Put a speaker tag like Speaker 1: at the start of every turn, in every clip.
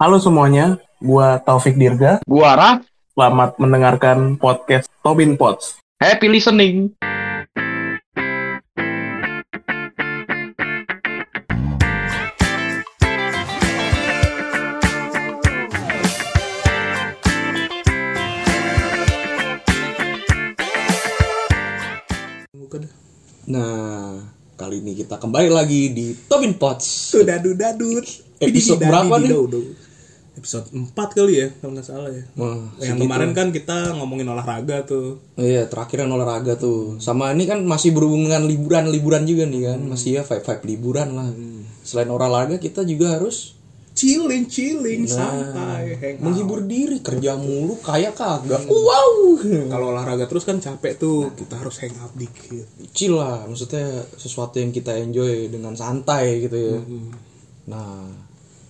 Speaker 1: Halo semuanya, gua Taufik Dirga.
Speaker 2: Gua Raf,
Speaker 1: Selamat mendengarkan podcast Tobin Pots.
Speaker 2: happy listening.
Speaker 3: Nah, kali ini kita kembali lagi di Tobin Pots.
Speaker 4: Tuh dadu dadut.
Speaker 3: Episode
Speaker 4: Didi,
Speaker 3: berapa
Speaker 4: dadi,
Speaker 3: nih?
Speaker 4: didau, dau. Episode 4 kali ya, kalau nggak salah ya.
Speaker 3: Wah,
Speaker 4: yang
Speaker 3: segitu.
Speaker 4: kemarin kan kita ngomongin olahraga tuh.
Speaker 3: Oh iya, terakhir yang olahraga tuh. Sama ini kan masih berhubungan dengan liburan-liburan juga nih kan.
Speaker 4: Hmm.
Speaker 3: Masih ya vibe-vibe liburan lah. Selain olahraga, kita juga harus
Speaker 4: Chilling, chilling,
Speaker 3: ah,
Speaker 4: santai, hang out. Hmm.
Speaker 3: menghibur diri, kerja mulu kayak kagak. Wow.
Speaker 4: Kalau olahraga terus kan capek tuh, kita harus hang out dikit.
Speaker 3: Chill lah, maksudnya sesuatu yang kita enjoy dengan santai gitu ya. Nah,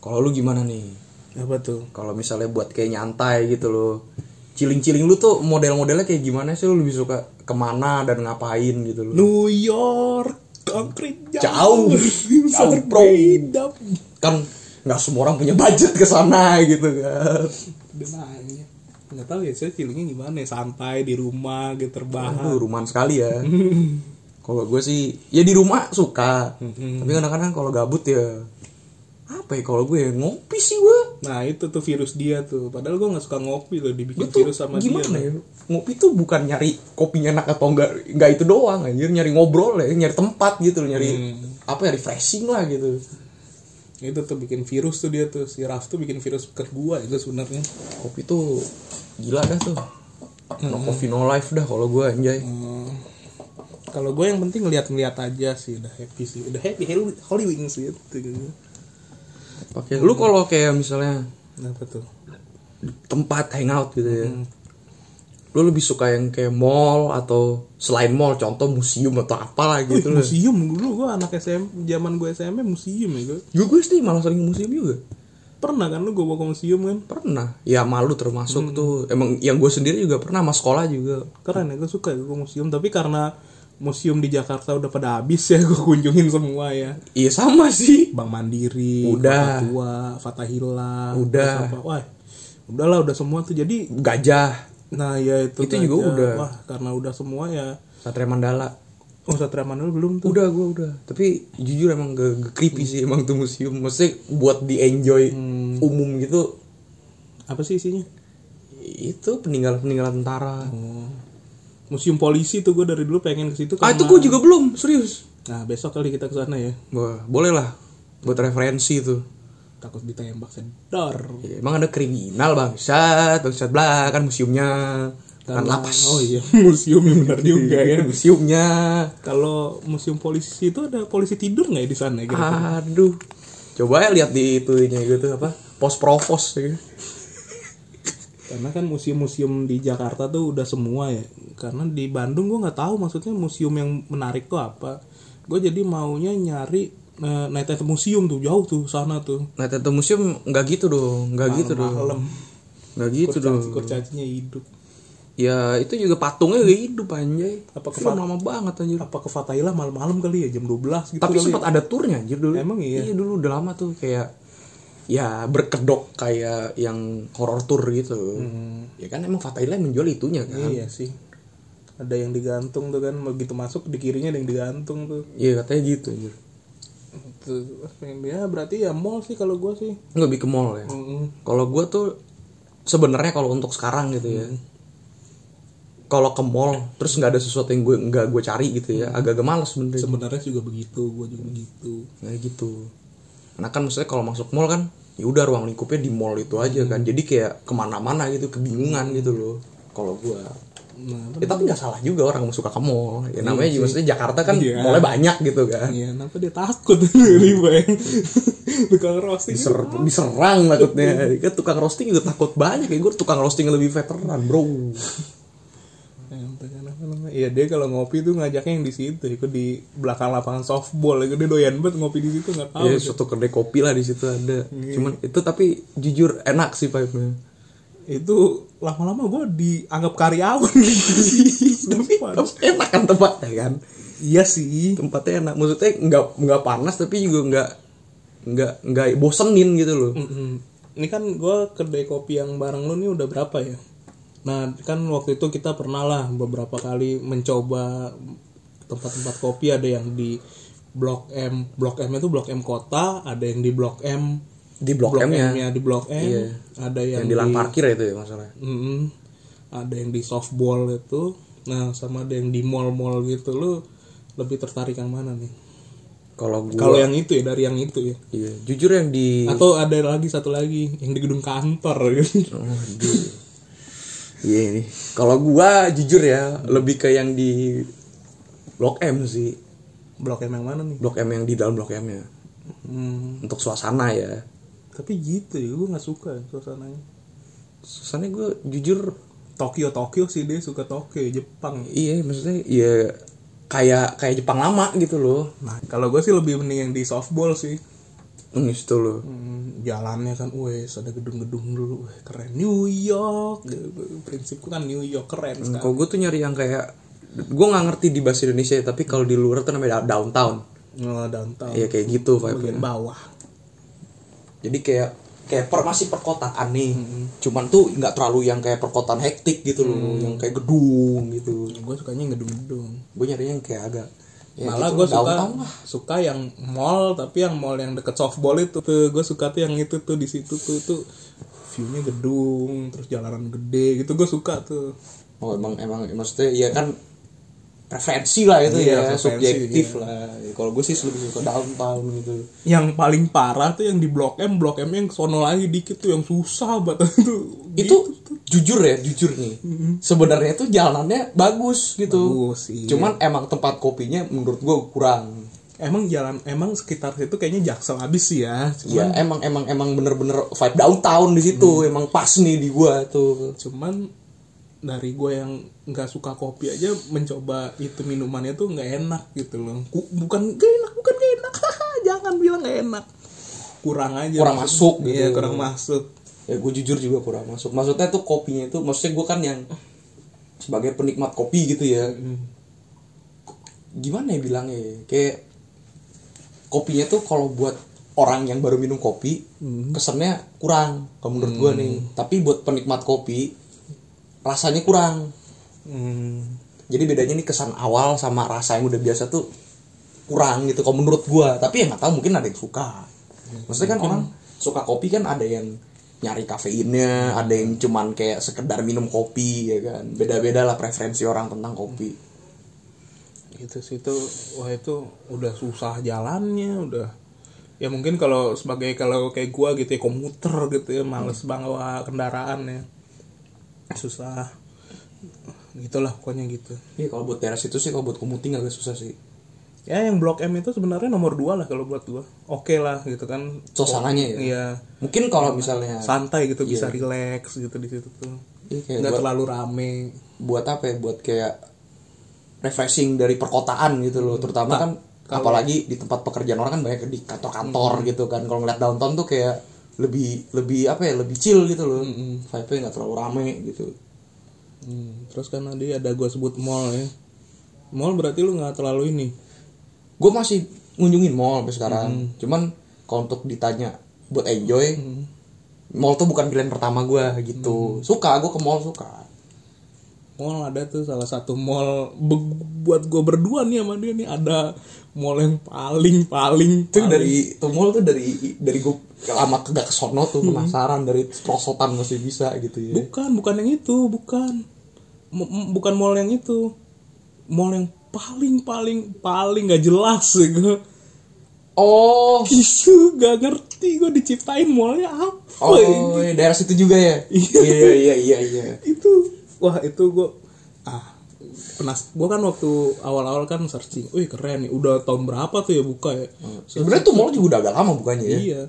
Speaker 3: kalau lu gimana nih?
Speaker 4: Apa tuh?
Speaker 3: kalau misalnya buat kayak nyantai gitu loh ciling-ciling lu tuh model-modelnya kayak gimana sih lu lebih suka kemana dan ngapain gitu loh
Speaker 4: New York, konkret
Speaker 3: Jauh. Jauh, bro.
Speaker 4: berbeda.
Speaker 3: kan nggak semua orang punya budget ke sana gitu kan
Speaker 4: Udah banyak. Nggak tahu ya, saya chillingnya gimana ya? Santai di rumah, gitu terbahan.
Speaker 3: aduh rumahan sekali ya kalau gue sih ya di rumah suka tapi kadang-kadang kalau gabut ya apa ya kalau gue ya, ngopi sih gue
Speaker 4: Nah itu tuh virus dia tuh. Padahal gue nggak suka ngopi loh,
Speaker 3: Gue
Speaker 4: dibikin
Speaker 3: tuh
Speaker 4: virus Gitu sama dia.
Speaker 3: gimana ya ngopi tuh bukan nyari kopinya enak atau enggak enggak itu doang anjir nyari ngobrol ya nyari tempat gitu loh nyari
Speaker 4: Hmm.
Speaker 3: apa ya refreshing lah gitu
Speaker 4: itu tuh bikin virus tuh dia tuh si Raf tuh bikin virus ke gua itu sebenarnya
Speaker 3: kopi tuh gila dah tuh no coffee no life dah kalau gue anjay
Speaker 4: Hmm. kalau gue yang penting ngeliat-ngeliat aja sih udah happy sih udah happy Halloween, Halloween sih itu gitu.
Speaker 3: pakai lu kalau kayak misalnya
Speaker 4: kenapa tuh
Speaker 3: tempat hangout gitu ya
Speaker 4: Hmm.
Speaker 3: lu lebih suka yang kayak mall atau selain mall contoh museum atau apalah
Speaker 4: Wih,
Speaker 3: gitu loh
Speaker 4: museum dulu gue anak SM zaman gue SMP museum ya gue
Speaker 3: gue gue sih malah sering ke museum juga
Speaker 4: pernah kan lu gue bawa ke museum kan
Speaker 3: pernah ya malu termasuk
Speaker 4: Hmm.
Speaker 3: tuh emang yang gue sendiri juga pernah sama sekolah juga
Speaker 4: keren ya gue suka ya gue ke museum tapi karena museum di Jakarta udah pada habis ya gue kunjungin semua ya
Speaker 3: iya sama sih
Speaker 4: Bank Mandiri,
Speaker 3: Udah.
Speaker 4: Kota Tua, Fatahila,
Speaker 3: Udah.
Speaker 4: terus apa? Wah, udahlah udah semua tuh jadi
Speaker 3: gajah
Speaker 4: Nah ya itu
Speaker 3: Itu juga
Speaker 4: aja.
Speaker 3: udah.
Speaker 4: Wah karena udah semua ya
Speaker 3: satria mandala
Speaker 4: Oh Satria Mandala belum tuh
Speaker 3: udah gue udah tapi jujur emang gak, gak creepy sih emang tuh museum mesti buat di enjoy
Speaker 4: Hmm.
Speaker 3: umum gitu
Speaker 4: Apa sih isinya?
Speaker 3: itu peninggalan peninggalan tentara
Speaker 4: Hmm. Museum Polisi tuh gue dari dulu pengen ke situ
Speaker 3: ah
Speaker 4: karena-
Speaker 3: itu gue juga belum serius
Speaker 4: Nah besok kali kita ke sana ya
Speaker 3: Wah, boleh lah buat referensi tuh
Speaker 4: Takut ditembak sedar
Speaker 3: Ya, emang ada kriminal bangsat bangsat belah kan museumnya kan
Speaker 4: Karena-
Speaker 3: lapas Iya, kan
Speaker 4: Oh iya museum benar juga ya
Speaker 3: museumnya
Speaker 4: Kalau museum polisi itu ada polisi tidur nggak ya di sana gitu
Speaker 3: Ah. aduh coba ya lihat di itunya gitu apa pos provos ya.
Speaker 4: Karena kan museum-museum di Jakarta tuh udah semua ya Karena di Bandung gue nggak tahu maksudnya museum yang menarik tuh apa Gue jadi maunya nyari eh, Night at the Museum tuh jauh tuh sana tuh
Speaker 3: nah tentu museum nggak gitu dong nggak gitu dong
Speaker 4: Malam
Speaker 3: nggak gitu dong
Speaker 4: kurcacinya hidup
Speaker 3: Ya itu juga patungnya juga hidup anjay.
Speaker 4: Apa ke
Speaker 3: Film lama banget anjir.
Speaker 4: apa ke Fatahila malam-malam kali ya jam 12 gitu
Speaker 3: Tapi
Speaker 4: kali
Speaker 3: sempat ada turnya anjir dulu.
Speaker 4: Emang iya?
Speaker 3: Iya dulu udah lama tuh kayak ya berkedok kayak yang horror tour gitu. Ya kan emang Fatahila yang menjual itunya
Speaker 4: ya.
Speaker 3: kan.
Speaker 4: Hmm. iya sih ada yang digantung tuh kan begitu masuk di kirinya ada yang digantung tuh
Speaker 3: Iya katanya gitu anjir.
Speaker 4: Tuh, ya berarti ya mall sih kalau gua sih
Speaker 3: Nggak lebih ke mall ya.
Speaker 4: Hmm.
Speaker 3: Kalau gua tuh sebenarnya kalau untuk sekarang gitu
Speaker 4: Hmm.
Speaker 3: ya. Kalau ke mall terus nggak ada sesuatu yang gue nggak gue cari gitu
Speaker 4: Hmm.
Speaker 3: ya. Agak-agak males sebenarnya.
Speaker 4: sebenarnya juga begitu gua juga begitu
Speaker 3: Nah gitu. Karena kan maksudnya kalau masuk mall kan ya udah ruang lingkupnya di mall itu aja kan. Jadi kayak kemana-mana gitu kebingungan gitu loh. Kalau gua.
Speaker 4: nah
Speaker 3: Ya, tapi nggak salah juga orang suka ke mall. Ya namanya juga maksudnya Jakarta kan
Speaker 4: Iya.
Speaker 3: mallnya banyak gitu kan.
Speaker 4: ya kenapa dia takut dari gue tukang roasting
Speaker 3: Diser- diserang takutnya. Kan tukang roasting juga takut banyak ya. Gue tukang roasting yang lebih veteran bro.
Speaker 4: Ya, Iya dia kalau ngopi tuh ngajaknya yang di situ, ikut di belakang lapangan softball, ya dia doyan banget ngopi di situ nggak tahu.
Speaker 3: ya suatu kedai kopi lah di situ ada. Cuman itu tapi jujur enak sih vibe-nya.
Speaker 4: itu lama-lama gue dianggap karyawan gitu tapi
Speaker 3: Tapi enak kan tempatnya kan.
Speaker 4: iya sih
Speaker 3: tempatnya enak maksudnya nggak nggak panas tapi juga nggak nggak nggak bosenin gitu loh
Speaker 4: ini kan gue kedai kopi yang bareng lu nih udah berapa ya? Nah kan waktu itu kita pernah lah beberapa kali mencoba tempat-tempat kopi ada yang di Blok M, Blok M itu Blok M kota, ada yang di Blok M,
Speaker 3: di blok, M-nya
Speaker 4: M-nya di Blok M,
Speaker 3: Iya.
Speaker 4: ada yang,
Speaker 3: yang di lahan parkir ya itu ya masalahnya
Speaker 4: Mm-mm. ada yang di softball itu, nah sama ada yang di mall-mall gitu lu lebih tertarik yang mana nih?
Speaker 3: kalau gua
Speaker 4: Kalau yang itu ya dari yang itu ya.
Speaker 3: iya, jujur yang di
Speaker 4: Atau ada lagi satu lagi yang di gedung kantor gitu.
Speaker 3: Waduh. Iya ini. Kalau gua jujur ya, lebih ke yang di Blok M sih.
Speaker 4: Blok M yang mana nih?
Speaker 3: Blok M yang di dalam Blok M-nya.
Speaker 4: Hmm,
Speaker 3: Untuk suasana ya.
Speaker 4: tapi gitu ya, gue nggak suka suasananya.
Speaker 3: Suasananya gua jujur
Speaker 4: Tokyo Tokyo sih dia suka Tokyo Jepang.
Speaker 3: iya maksudnya iya kayak kayak Jepang lama gitu loh.
Speaker 4: Nah kalau gue sih lebih mending yang di softball sih.
Speaker 3: Hmm, itu loh.
Speaker 4: Hmm, jalannya kan, wes ada gedung-gedung dulu, weh, keren New York. Prinsipku kan New York keren sekarang.
Speaker 3: Kalau gua tuh nyari yang kayak gua nggak ngerti di bahasa Indonesia ya, tapi kalau di luar tuh namanya downtown.
Speaker 4: Nah, downtown,
Speaker 3: Iya kayak gitu vibe-nya.
Speaker 4: bagian bawah.
Speaker 3: jadi kayak kayak per masih perkotaan nih
Speaker 4: Hmm.
Speaker 3: cuman tuh nggak terlalu yang kayak perkotaan hektik gitu loh yang kayak gedung gitu
Speaker 4: Gue sukanya yang gedung-gedung.
Speaker 3: gue nyarinya yang kayak agak ya
Speaker 4: Malah
Speaker 3: gitu,
Speaker 4: gue suka
Speaker 3: downtown lah.
Speaker 4: suka yang mall tapi yang mall yang deket softball itu tuh gue suka tuh yang itu tuh di situ tuh itu viewnya gedung terus jalanan gede gitu gue suka tuh
Speaker 3: oh emang emang maksudnya ya kan preferensi lah itu
Speaker 4: Iya,
Speaker 3: ya
Speaker 4: preferensi,
Speaker 3: subjektif
Speaker 4: iya.
Speaker 3: lah kalau gue sih lebih suka downtown gitu
Speaker 4: yang paling parah tuh yang di blok M blok M yang sono lagi dikit tuh yang susah banget tuh Gitu.
Speaker 3: itu jujur ya jujur nih sebenarnya itu jalanannya bagus gitu
Speaker 4: Bagus, iya.
Speaker 3: cuman emang tempat kopinya menurut gue kurang
Speaker 4: emang jalan emang sekitar situ kayaknya jaksel abis sih ya
Speaker 3: Iya,
Speaker 4: cuman
Speaker 3: emang emang emang bener-bener vibe downtown di situ, emang pas nih di gua tuh.
Speaker 4: cuman dari gue yang nggak suka kopi aja mencoba itu minumannya tuh nggak enak gitu loh Ku- bukan gak enak bukan gak enak jangan bilang nggak enak kurang aja
Speaker 3: Kurang masuk gitu.
Speaker 4: iya kurang masuk
Speaker 3: Ya gua jujur juga kurang masuk. Maksudnya tuh kopinya itu, maksudnya gua kan yang sebagai penikmat kopi gitu ya. Gimana ya bilangnya? ya? Kayak kopinya tuh kalau buat orang yang baru minum kopi, kesannya kurang kalau menurut gua nih. Tapi buat penikmat kopi rasanya kurang.
Speaker 4: hmm,
Speaker 3: Jadi bedanya nih kesan awal sama rasa yang udah biasa tuh kurang gitu kalau menurut gua. Tapi ya nggak tahu mungkin ada yang suka. Maksudnya kan orang suka kopi kan ada yang nyari kafeinnya, ada yang cuman kayak sekedar minum kopi ya kan. Beda-beda lah preferensi orang tentang kopi.
Speaker 4: Gitu itu situ wah itu udah susah jalannya udah ya mungkin kalau sebagai kalau kayak gue gitu ya komuter gitu ya males
Speaker 3: Hmm.
Speaker 4: bawa kendaraan ya susah gitulah pokoknya gitu
Speaker 3: Iya kalau buat daerah situ sih kalau buat commuting agak susah sih.
Speaker 4: ya yang blok M itu sebenarnya nomor dua lah kalau buat gua oke lah gitu kan
Speaker 3: Suasananya ya.
Speaker 4: iya
Speaker 3: Mungkin kalau misalnya
Speaker 4: santai gitu bisa relax gitu di situ tuh
Speaker 3: Iya, kayak
Speaker 4: nggak
Speaker 3: buat-
Speaker 4: terlalu rame
Speaker 3: buat apa ya buat kayak refreshing dari perkotaan gitu loh terutama kan apalagi di tempat pekerjaan orang kan banyak di kantor-kantor gitu kan kalau ngeliat downtown tuh kayak lebih lebih apa ya lebih chill gitu loh vibe-nya nggak terlalu rame gitu
Speaker 4: Hmm, terus kan tadi ada gua sebut mall ya mall berarti lu nggak terlalu ini
Speaker 3: gue masih ngunjungin mall sampai sekarang cuman kalau untuk ditanya buat enjoy mall tuh bukan pilihan pertama gue gitu suka gue ke mall suka
Speaker 4: mall ada tuh salah satu mall be- buat gua berdua nih sama dia nih ada mall yang paling paling
Speaker 3: itu
Speaker 4: paling-
Speaker 3: dari tuh mall tuh dari dari gue lama kagak ke sono tuh penasaran dari prosotan masih bisa gitu ya
Speaker 4: bukan bukan yang itu bukan M- m- bukan mall yang itu mall yang paling paling paling nggak jelas ya gue
Speaker 3: Oh,
Speaker 4: Isu gak ngerti gue diciptain mallnya apa
Speaker 3: oh, iya, daerah situ juga ya? iya, iya, iya, iya.
Speaker 4: itu wah itu gue ah penas gue kan waktu awal-awal kan searching, wih keren nih udah tahun berapa tuh ya buka ya So-
Speaker 3: Sebenarnya tuh mall juga udah agak lama bukannya ya?
Speaker 4: iya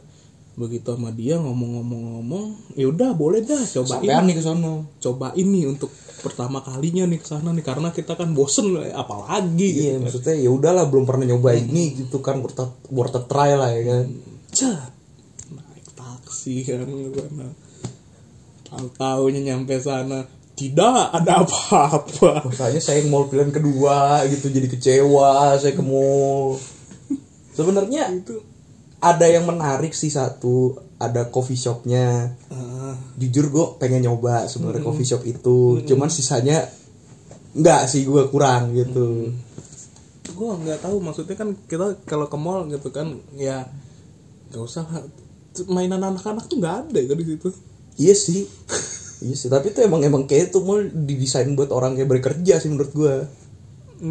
Speaker 4: begitu sama dia ngomong-ngomong-ngomong ya udah boleh dah cobain
Speaker 3: Sampean nih ke sono.
Speaker 4: coba ini untuk pertama kalinya nih kesana nih karena kita kan bosen lah, apalagi gitu.
Speaker 3: Iya, maksudnya ya udahlah belum pernah nyoba ini gitu kan worth a, worth a try lah ya kan.
Speaker 4: Cet. naik taksi kan ke sana tahu taunya nyampe sana tidak ada apa-apa
Speaker 3: Makanya saya yang mall pilihan kedua gitu jadi kecewa saya ke mall. Sebenarnya
Speaker 4: itu
Speaker 3: ada yang menarik sih satu, ada coffee shopnya
Speaker 4: Ah,
Speaker 3: jujur gue pengen nyoba sebenarnya coffee shop itu cuman sisanya nggak sih gue kurang gitu
Speaker 4: gue nggak tahu maksudnya kan kita kalau ke mall gitu kan ya nggak usah lah. mainan anak-anak tuh nggak ada kan di situ
Speaker 3: iya sih iya sih tapi itu emang emang kayak itu mall didesain buat orang kayak bekerja sih menurut gue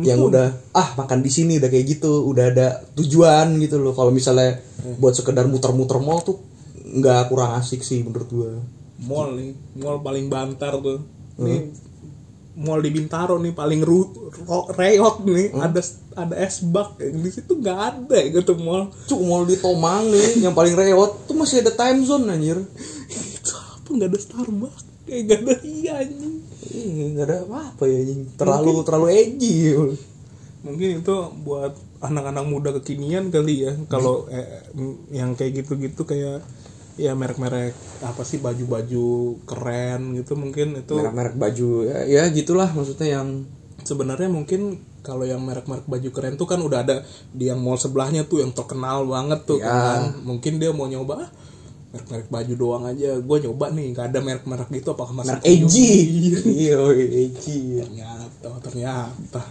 Speaker 3: yang udah ah makan di sini udah kayak gitu udah ada tujuan gitu loh kalau misalnya buat sekedar muter-muter mall tuh nggak kurang asik sih menurut gue
Speaker 4: mall nih mall paling bantar tuh nih mall di Bintaro nih paling ru ro- reot nih ada ada es bak di situ nggak ada gitu mall
Speaker 3: Cuk mall di Tomang nih yang paling reot tuh masih ada time zone anjir.
Speaker 4: itu apa nggak ada Starbucks kayak nggak ada iya anjing
Speaker 3: Ih, nggak ada apa-apa ya anjing. Terlalu terlalu edgy.
Speaker 4: mungkin itu buat anak-anak muda kekinian kali ya kalau eh, m- yang kayak gitu-gitu kayak ya merek-merek apa sih baju-baju keren gitu mungkin itu
Speaker 3: Merek-merek baju ya, ya gitulah maksudnya yang
Speaker 4: sebenarnya mungkin kalau yang merek-merek baju keren tuh kan udah ada di yang mall sebelahnya tuh yang terkenal banget tuh
Speaker 3: Iya.
Speaker 4: kan mungkin dia mau nyoba ah, merek-merek baju doang aja gue nyoba nih nggak ada merek-merek gitu apakah masih
Speaker 3: merek edgy. Iya, woy, edgy.
Speaker 4: ternyata ternyata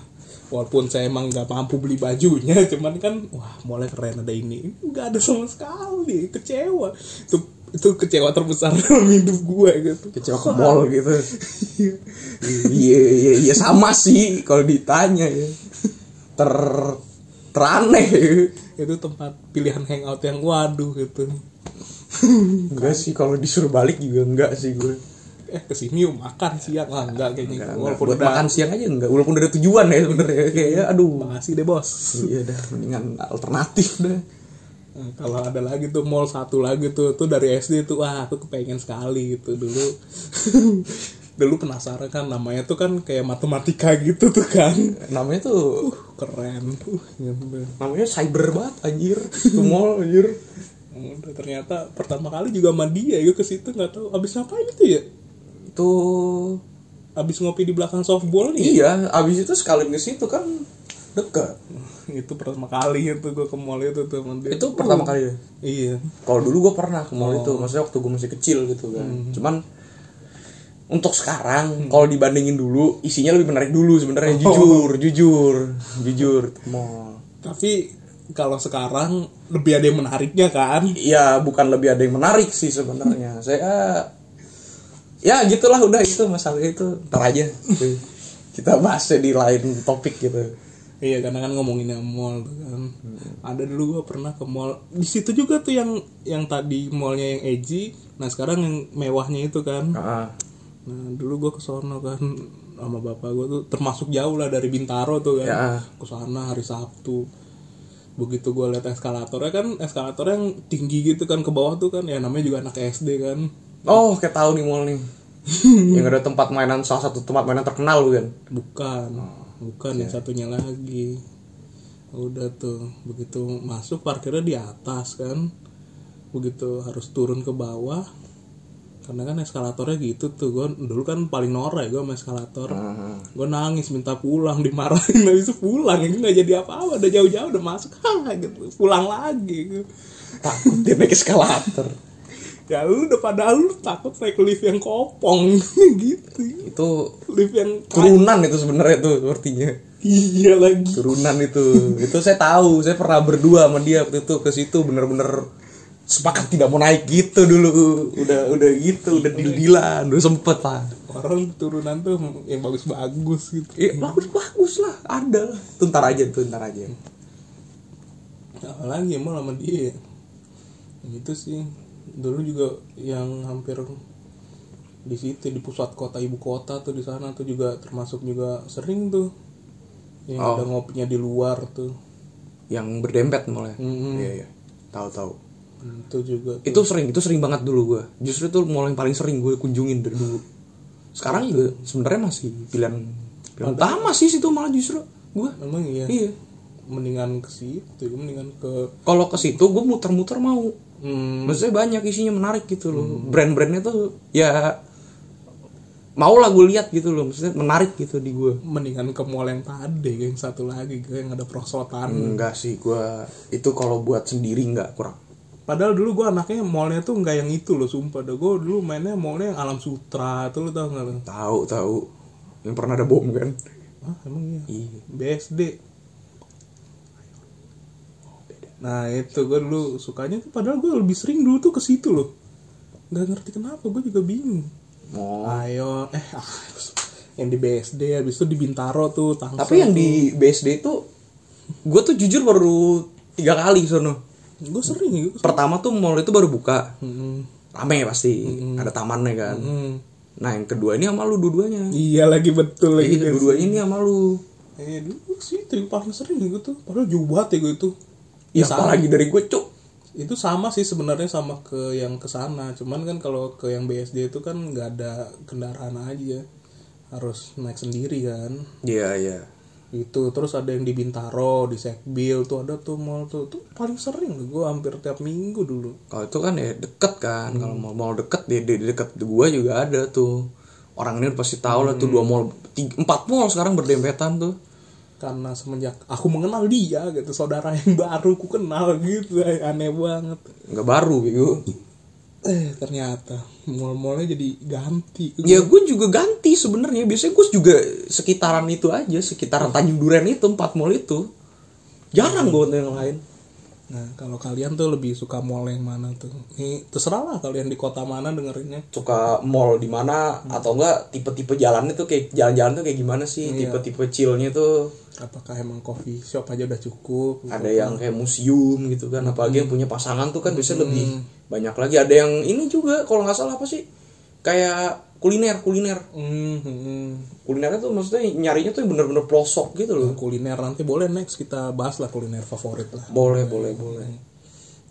Speaker 4: walaupun saya emang nggak mampu beli bajunya cuman kan wah mulai keren ada ini nggak ada sama sekali kecewa itu itu kecewa terbesar dalam hidup gue gitu
Speaker 3: Kecewa ke mall gitu. Iya, iya, iya sama sih kalau ditanya ya. Ter teraneh.
Speaker 4: itu tempat pilihan hangout yang waduh gitu
Speaker 3: Enggak sih kalau disuruh balik juga enggak sih gue.
Speaker 4: eh kesini yuk makan siang Ah, lah enggak
Speaker 3: Enggak, Ya, enggak.
Speaker 4: kayaknya gitu. walaupun
Speaker 3: Buat
Speaker 4: udah
Speaker 3: makan siang aja enggak walaupun udah ada tujuan ya sebenarnya kayaknya aduh
Speaker 4: makasih deh bos
Speaker 3: Iya dah, mendingan alternatif dah.
Speaker 4: Nah, kalau ada lagi tuh mall satu lagi tuh tuh dari SD tuh wah aku kepengen sekali gitu dulu dulu penasaran kan namanya tuh kan kayak matematika gitu tuh kan
Speaker 3: Namanya tuh
Speaker 4: keren uh, nyampe.
Speaker 3: namanya cyber banget anjir. Itu mall anjir.
Speaker 4: Udah, ternyata pertama kali juga sama dia ya ke situ nggak tahu abis ngapain itu ya
Speaker 3: Itu
Speaker 4: abis ngopi di belakang softball nih ya?
Speaker 3: iya, abis itu sekalian ke situ kan deket.
Speaker 4: itu pertama kali itu gue ke mall itu tuh sama dia.
Speaker 3: Itu pertama kali ya.
Speaker 4: iya
Speaker 3: Kalau dulu gue pernah ke mall itu, maksudnya waktu gue masih kecil gitu kan. Cuman untuk sekarang kalau dibandingin dulu isinya lebih menarik dulu sebenarnya jujur jujur jujur mall
Speaker 4: tapi kalau sekarang lebih ada yang menariknya kan
Speaker 3: Iya, bukan lebih ada yang menarik sih sebenarnya. Saya ya gitulah udah itu masalah itu ntar aja kita bahasnya di lain topik gitu
Speaker 4: Iya karena kan ngomongin yang mall tuh kan.
Speaker 3: Hmm.
Speaker 4: Ada dulu gua pernah ke mall. Di situ juga tuh yang yang tadi mallnya yang edgy, nah sekarang yang mewahnya itu kan. Nah, dulu gua ke sono kan sama bapak gua tuh termasuk jauh lah dari Bintaro tuh kan.
Speaker 3: Ya.
Speaker 4: Ke sana hari Sabtu. Begitu gua lihat eskalatornya kan eskalatornya yang tinggi gitu kan ke bawah tuh kan. Ya namanya juga anak SD kan.
Speaker 3: oh kayak tahu nih mall nih yang ada tempat mainan salah satu tempat mainan terkenal bukan
Speaker 4: Bukan, bukan yang satunya lagi. Udah tuh, begitu masuk parkirnya di atas kan. Begitu harus turun ke bawah. Karena kan eskalatornya gitu tuh, gue dulu kan paling norak gue sama eskalator. Gue nangis minta pulang, dimarahin Nah, habis itu pulang. Ini nggak jadi apa-apa, udah jauh-jauh udah masuk gitu. Pulang lagi.
Speaker 3: takut dia naik eskalator
Speaker 4: Ya lu udah padahal lu takut naik lift yang kopong gitu.
Speaker 3: itu
Speaker 4: Lift yang
Speaker 3: turunan itu sebenarnya tuh sepertinya
Speaker 4: iya lagi.
Speaker 3: turunan itu itu saya tahu saya pernah berdua sama dia waktu itu ke situ bener-bener sepakat tidak mau naik gitu dulu udah udah gitu udah dil-dilan udah sempet lah
Speaker 4: orang turunan tuh yang bagus-bagus gitu
Speaker 3: Iya, bagus bagus lah, ada lah. Itu ntar aja, tuh ntar aja.
Speaker 4: apalagi emang sama dia ya itu sih dulu juga yang hampir di situ di pusat kota ibu kota tuh di sana tuh juga termasuk juga sering tuh yang
Speaker 3: Oh.
Speaker 4: ada ngopinya di luar tuh
Speaker 3: Yang berdempet mulai.
Speaker 4: Mm-mm.
Speaker 3: Iya, iya. Tahu tahu.
Speaker 4: itu juga tuh.
Speaker 3: Itu sering, itu sering banget dulu gue. Justru itu mall yang paling sering gue kunjungin dari dulu. Sekarang juga sebenarnya masih pilihan pilihan utama sih situ malah justru gue.
Speaker 4: emang iya
Speaker 3: Iya.
Speaker 4: mendingan ke situ mendingan ke
Speaker 3: Kalau ke situ gue muter-muter mau.
Speaker 4: hmm,
Speaker 3: Maksudnya banyak isinya menarik gitu loh. Brand-brandnya tuh ya mau lah gue lihat gitu loh. Maksudnya menarik gitu di gue.
Speaker 4: mendingan ke mall yang tadi yang satu lagi yang ada prosotan
Speaker 3: Enggak sih gue itu kalau buat sendiri enggak kurang.
Speaker 4: Padahal dulu gue anaknya mallnya tuh nggak yang itu loh sumpah dah gue dulu mainnya mallnya yang alam sutra tuh lo tau nggak lo?
Speaker 3: Tahu tahu. Yang pernah ada bom kan?
Speaker 4: Ah emang iya.
Speaker 3: Iya.
Speaker 4: BSD. Nah itu gue dulu sukanya tuh padahal gue lebih sering dulu tuh ke situ loh. Nggak ngerti kenapa gue juga bingung.
Speaker 3: Oh.
Speaker 4: Ayo eh ah, yang di BSD habis itu di Bintaro tuh Tangsel
Speaker 3: Tapi yang di BSD itu gue tuh jujur baru tiga kali ke sono.
Speaker 4: gue sering ya, gua-
Speaker 3: Pertama tuh mall itu baru buka.
Speaker 4: Mm,
Speaker 3: Rame pasti, ada tamannya kan.
Speaker 4: mm.
Speaker 3: Nah, yang kedua ini sama lu dua-duanya.
Speaker 4: Iya lagi betul lagi.
Speaker 3: Iya, dua-duanya ini sama lu.
Speaker 4: Eh dulu sih itu yang paling sering gue tuh padahal jauh banget ya gue itu.
Speaker 3: Ya,
Speaker 4: Bisa-
Speaker 3: apalagi dari gue, Cuk.
Speaker 4: itu sama sih sebenarnya sama ke yang ke sana cuman kan kalau ke yang BSD itu kan nggak ada kendaraan aja harus naik sendiri kan
Speaker 3: Iya, iya.
Speaker 4: itu terus ada yang di Bintaro di Sekbil tuh ada tuh mall tuh tuh paling sering gue hampir tiap minggu dulu
Speaker 3: Kalau itu kan ya deket kan. Kalau mau mau deket di, di, di deket gue juga ada tuh. Orang ini pasti tahu lah tuh dua mall, tiga- empat mall sekarang berdempetan tuh.
Speaker 4: karena semenjak aku mengenal dia gitu saudara yang baru ku kenal gitu aneh banget
Speaker 3: Nggak baru, ya, bego.
Speaker 4: eh ternyata mall-mallnya jadi ganti
Speaker 3: Ya gue juga ganti sebenarnya. Biasanya gue juga sekitaran itu aja, sekitaran Tanjung Duren itu empat mall itu. Jarang gue yang lain.
Speaker 4: nah kalau kalian tuh lebih suka mall yang mana tuh ini terserah lah kalian di kota mana dengerinnya
Speaker 3: Suka mall di mana atau enggak tipe-tipe jalannya tuh kayak jalan-jalan tuh kayak gimana sih? Tipe-tipe chillnya tuh
Speaker 4: apakah emang coffee shop aja udah cukup
Speaker 3: ada yang kayak museum gitu kan. Apalagi yang
Speaker 4: Hmm.
Speaker 3: punya pasangan tuh kan biasanya lebih banyak lagi. Ada yang ini juga kalau nggak salah apa sih? Kayak kuliner, kuliner.
Speaker 4: Hmm, hmm, hmm.
Speaker 3: Kulinernya tuh maksudnya nyarinya tuh yang bener-bener pelosok gitu loh.
Speaker 4: kuliner nanti boleh next kita bahas lah kuliner favorit lah
Speaker 3: Boleh, boleh, boleh.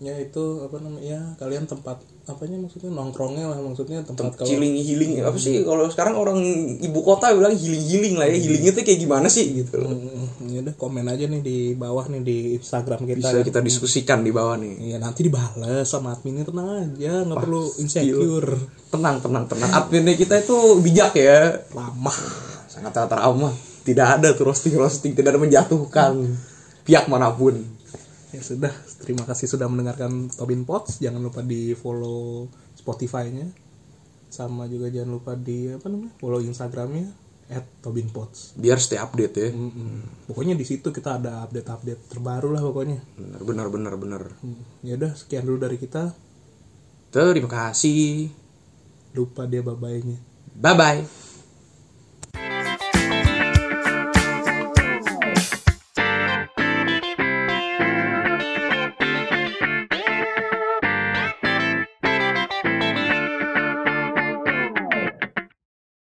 Speaker 4: ya itu apa namanya ya kalian tempat apanya maksudnya nongkrongnya lah maksudnya tempat kalau
Speaker 3: healing healing apa sih kalau sekarang orang ibu kota bilang healing healing lah ya healing itu kayak gimana sih gitu loh.
Speaker 4: Hmm, ya udah komen aja nih di bawah nih di Instagram
Speaker 3: bisa
Speaker 4: kita kan.
Speaker 3: kita diskusikan di bawah nih
Speaker 4: Iya nanti dibales sama adminnya tenang aja nggak perlu insecure
Speaker 3: tenang tenang
Speaker 4: Hmm.
Speaker 3: tenang adminnya kita itu bijak ya
Speaker 4: lama
Speaker 3: sangat sangat ramah tidak ada tuh roasting roasting tidak ada
Speaker 4: Hmm.
Speaker 3: menjatuhkan pihak manapun
Speaker 4: ya sudah terima kasih sudah mendengarkan Tobin Pots jangan lupa di follow Spotify-nya sama juga jangan lupa di apa namanya follow Instagramnya at Tobin Pots
Speaker 3: biar stay update ya
Speaker 4: pokoknya di situ kita ada update-update terbaru lah pokoknya
Speaker 3: benar benar benar benar
Speaker 4: ya udah sekian dulu dari kita
Speaker 3: terima kasih
Speaker 4: lupa dia babaynya
Speaker 3: bye bye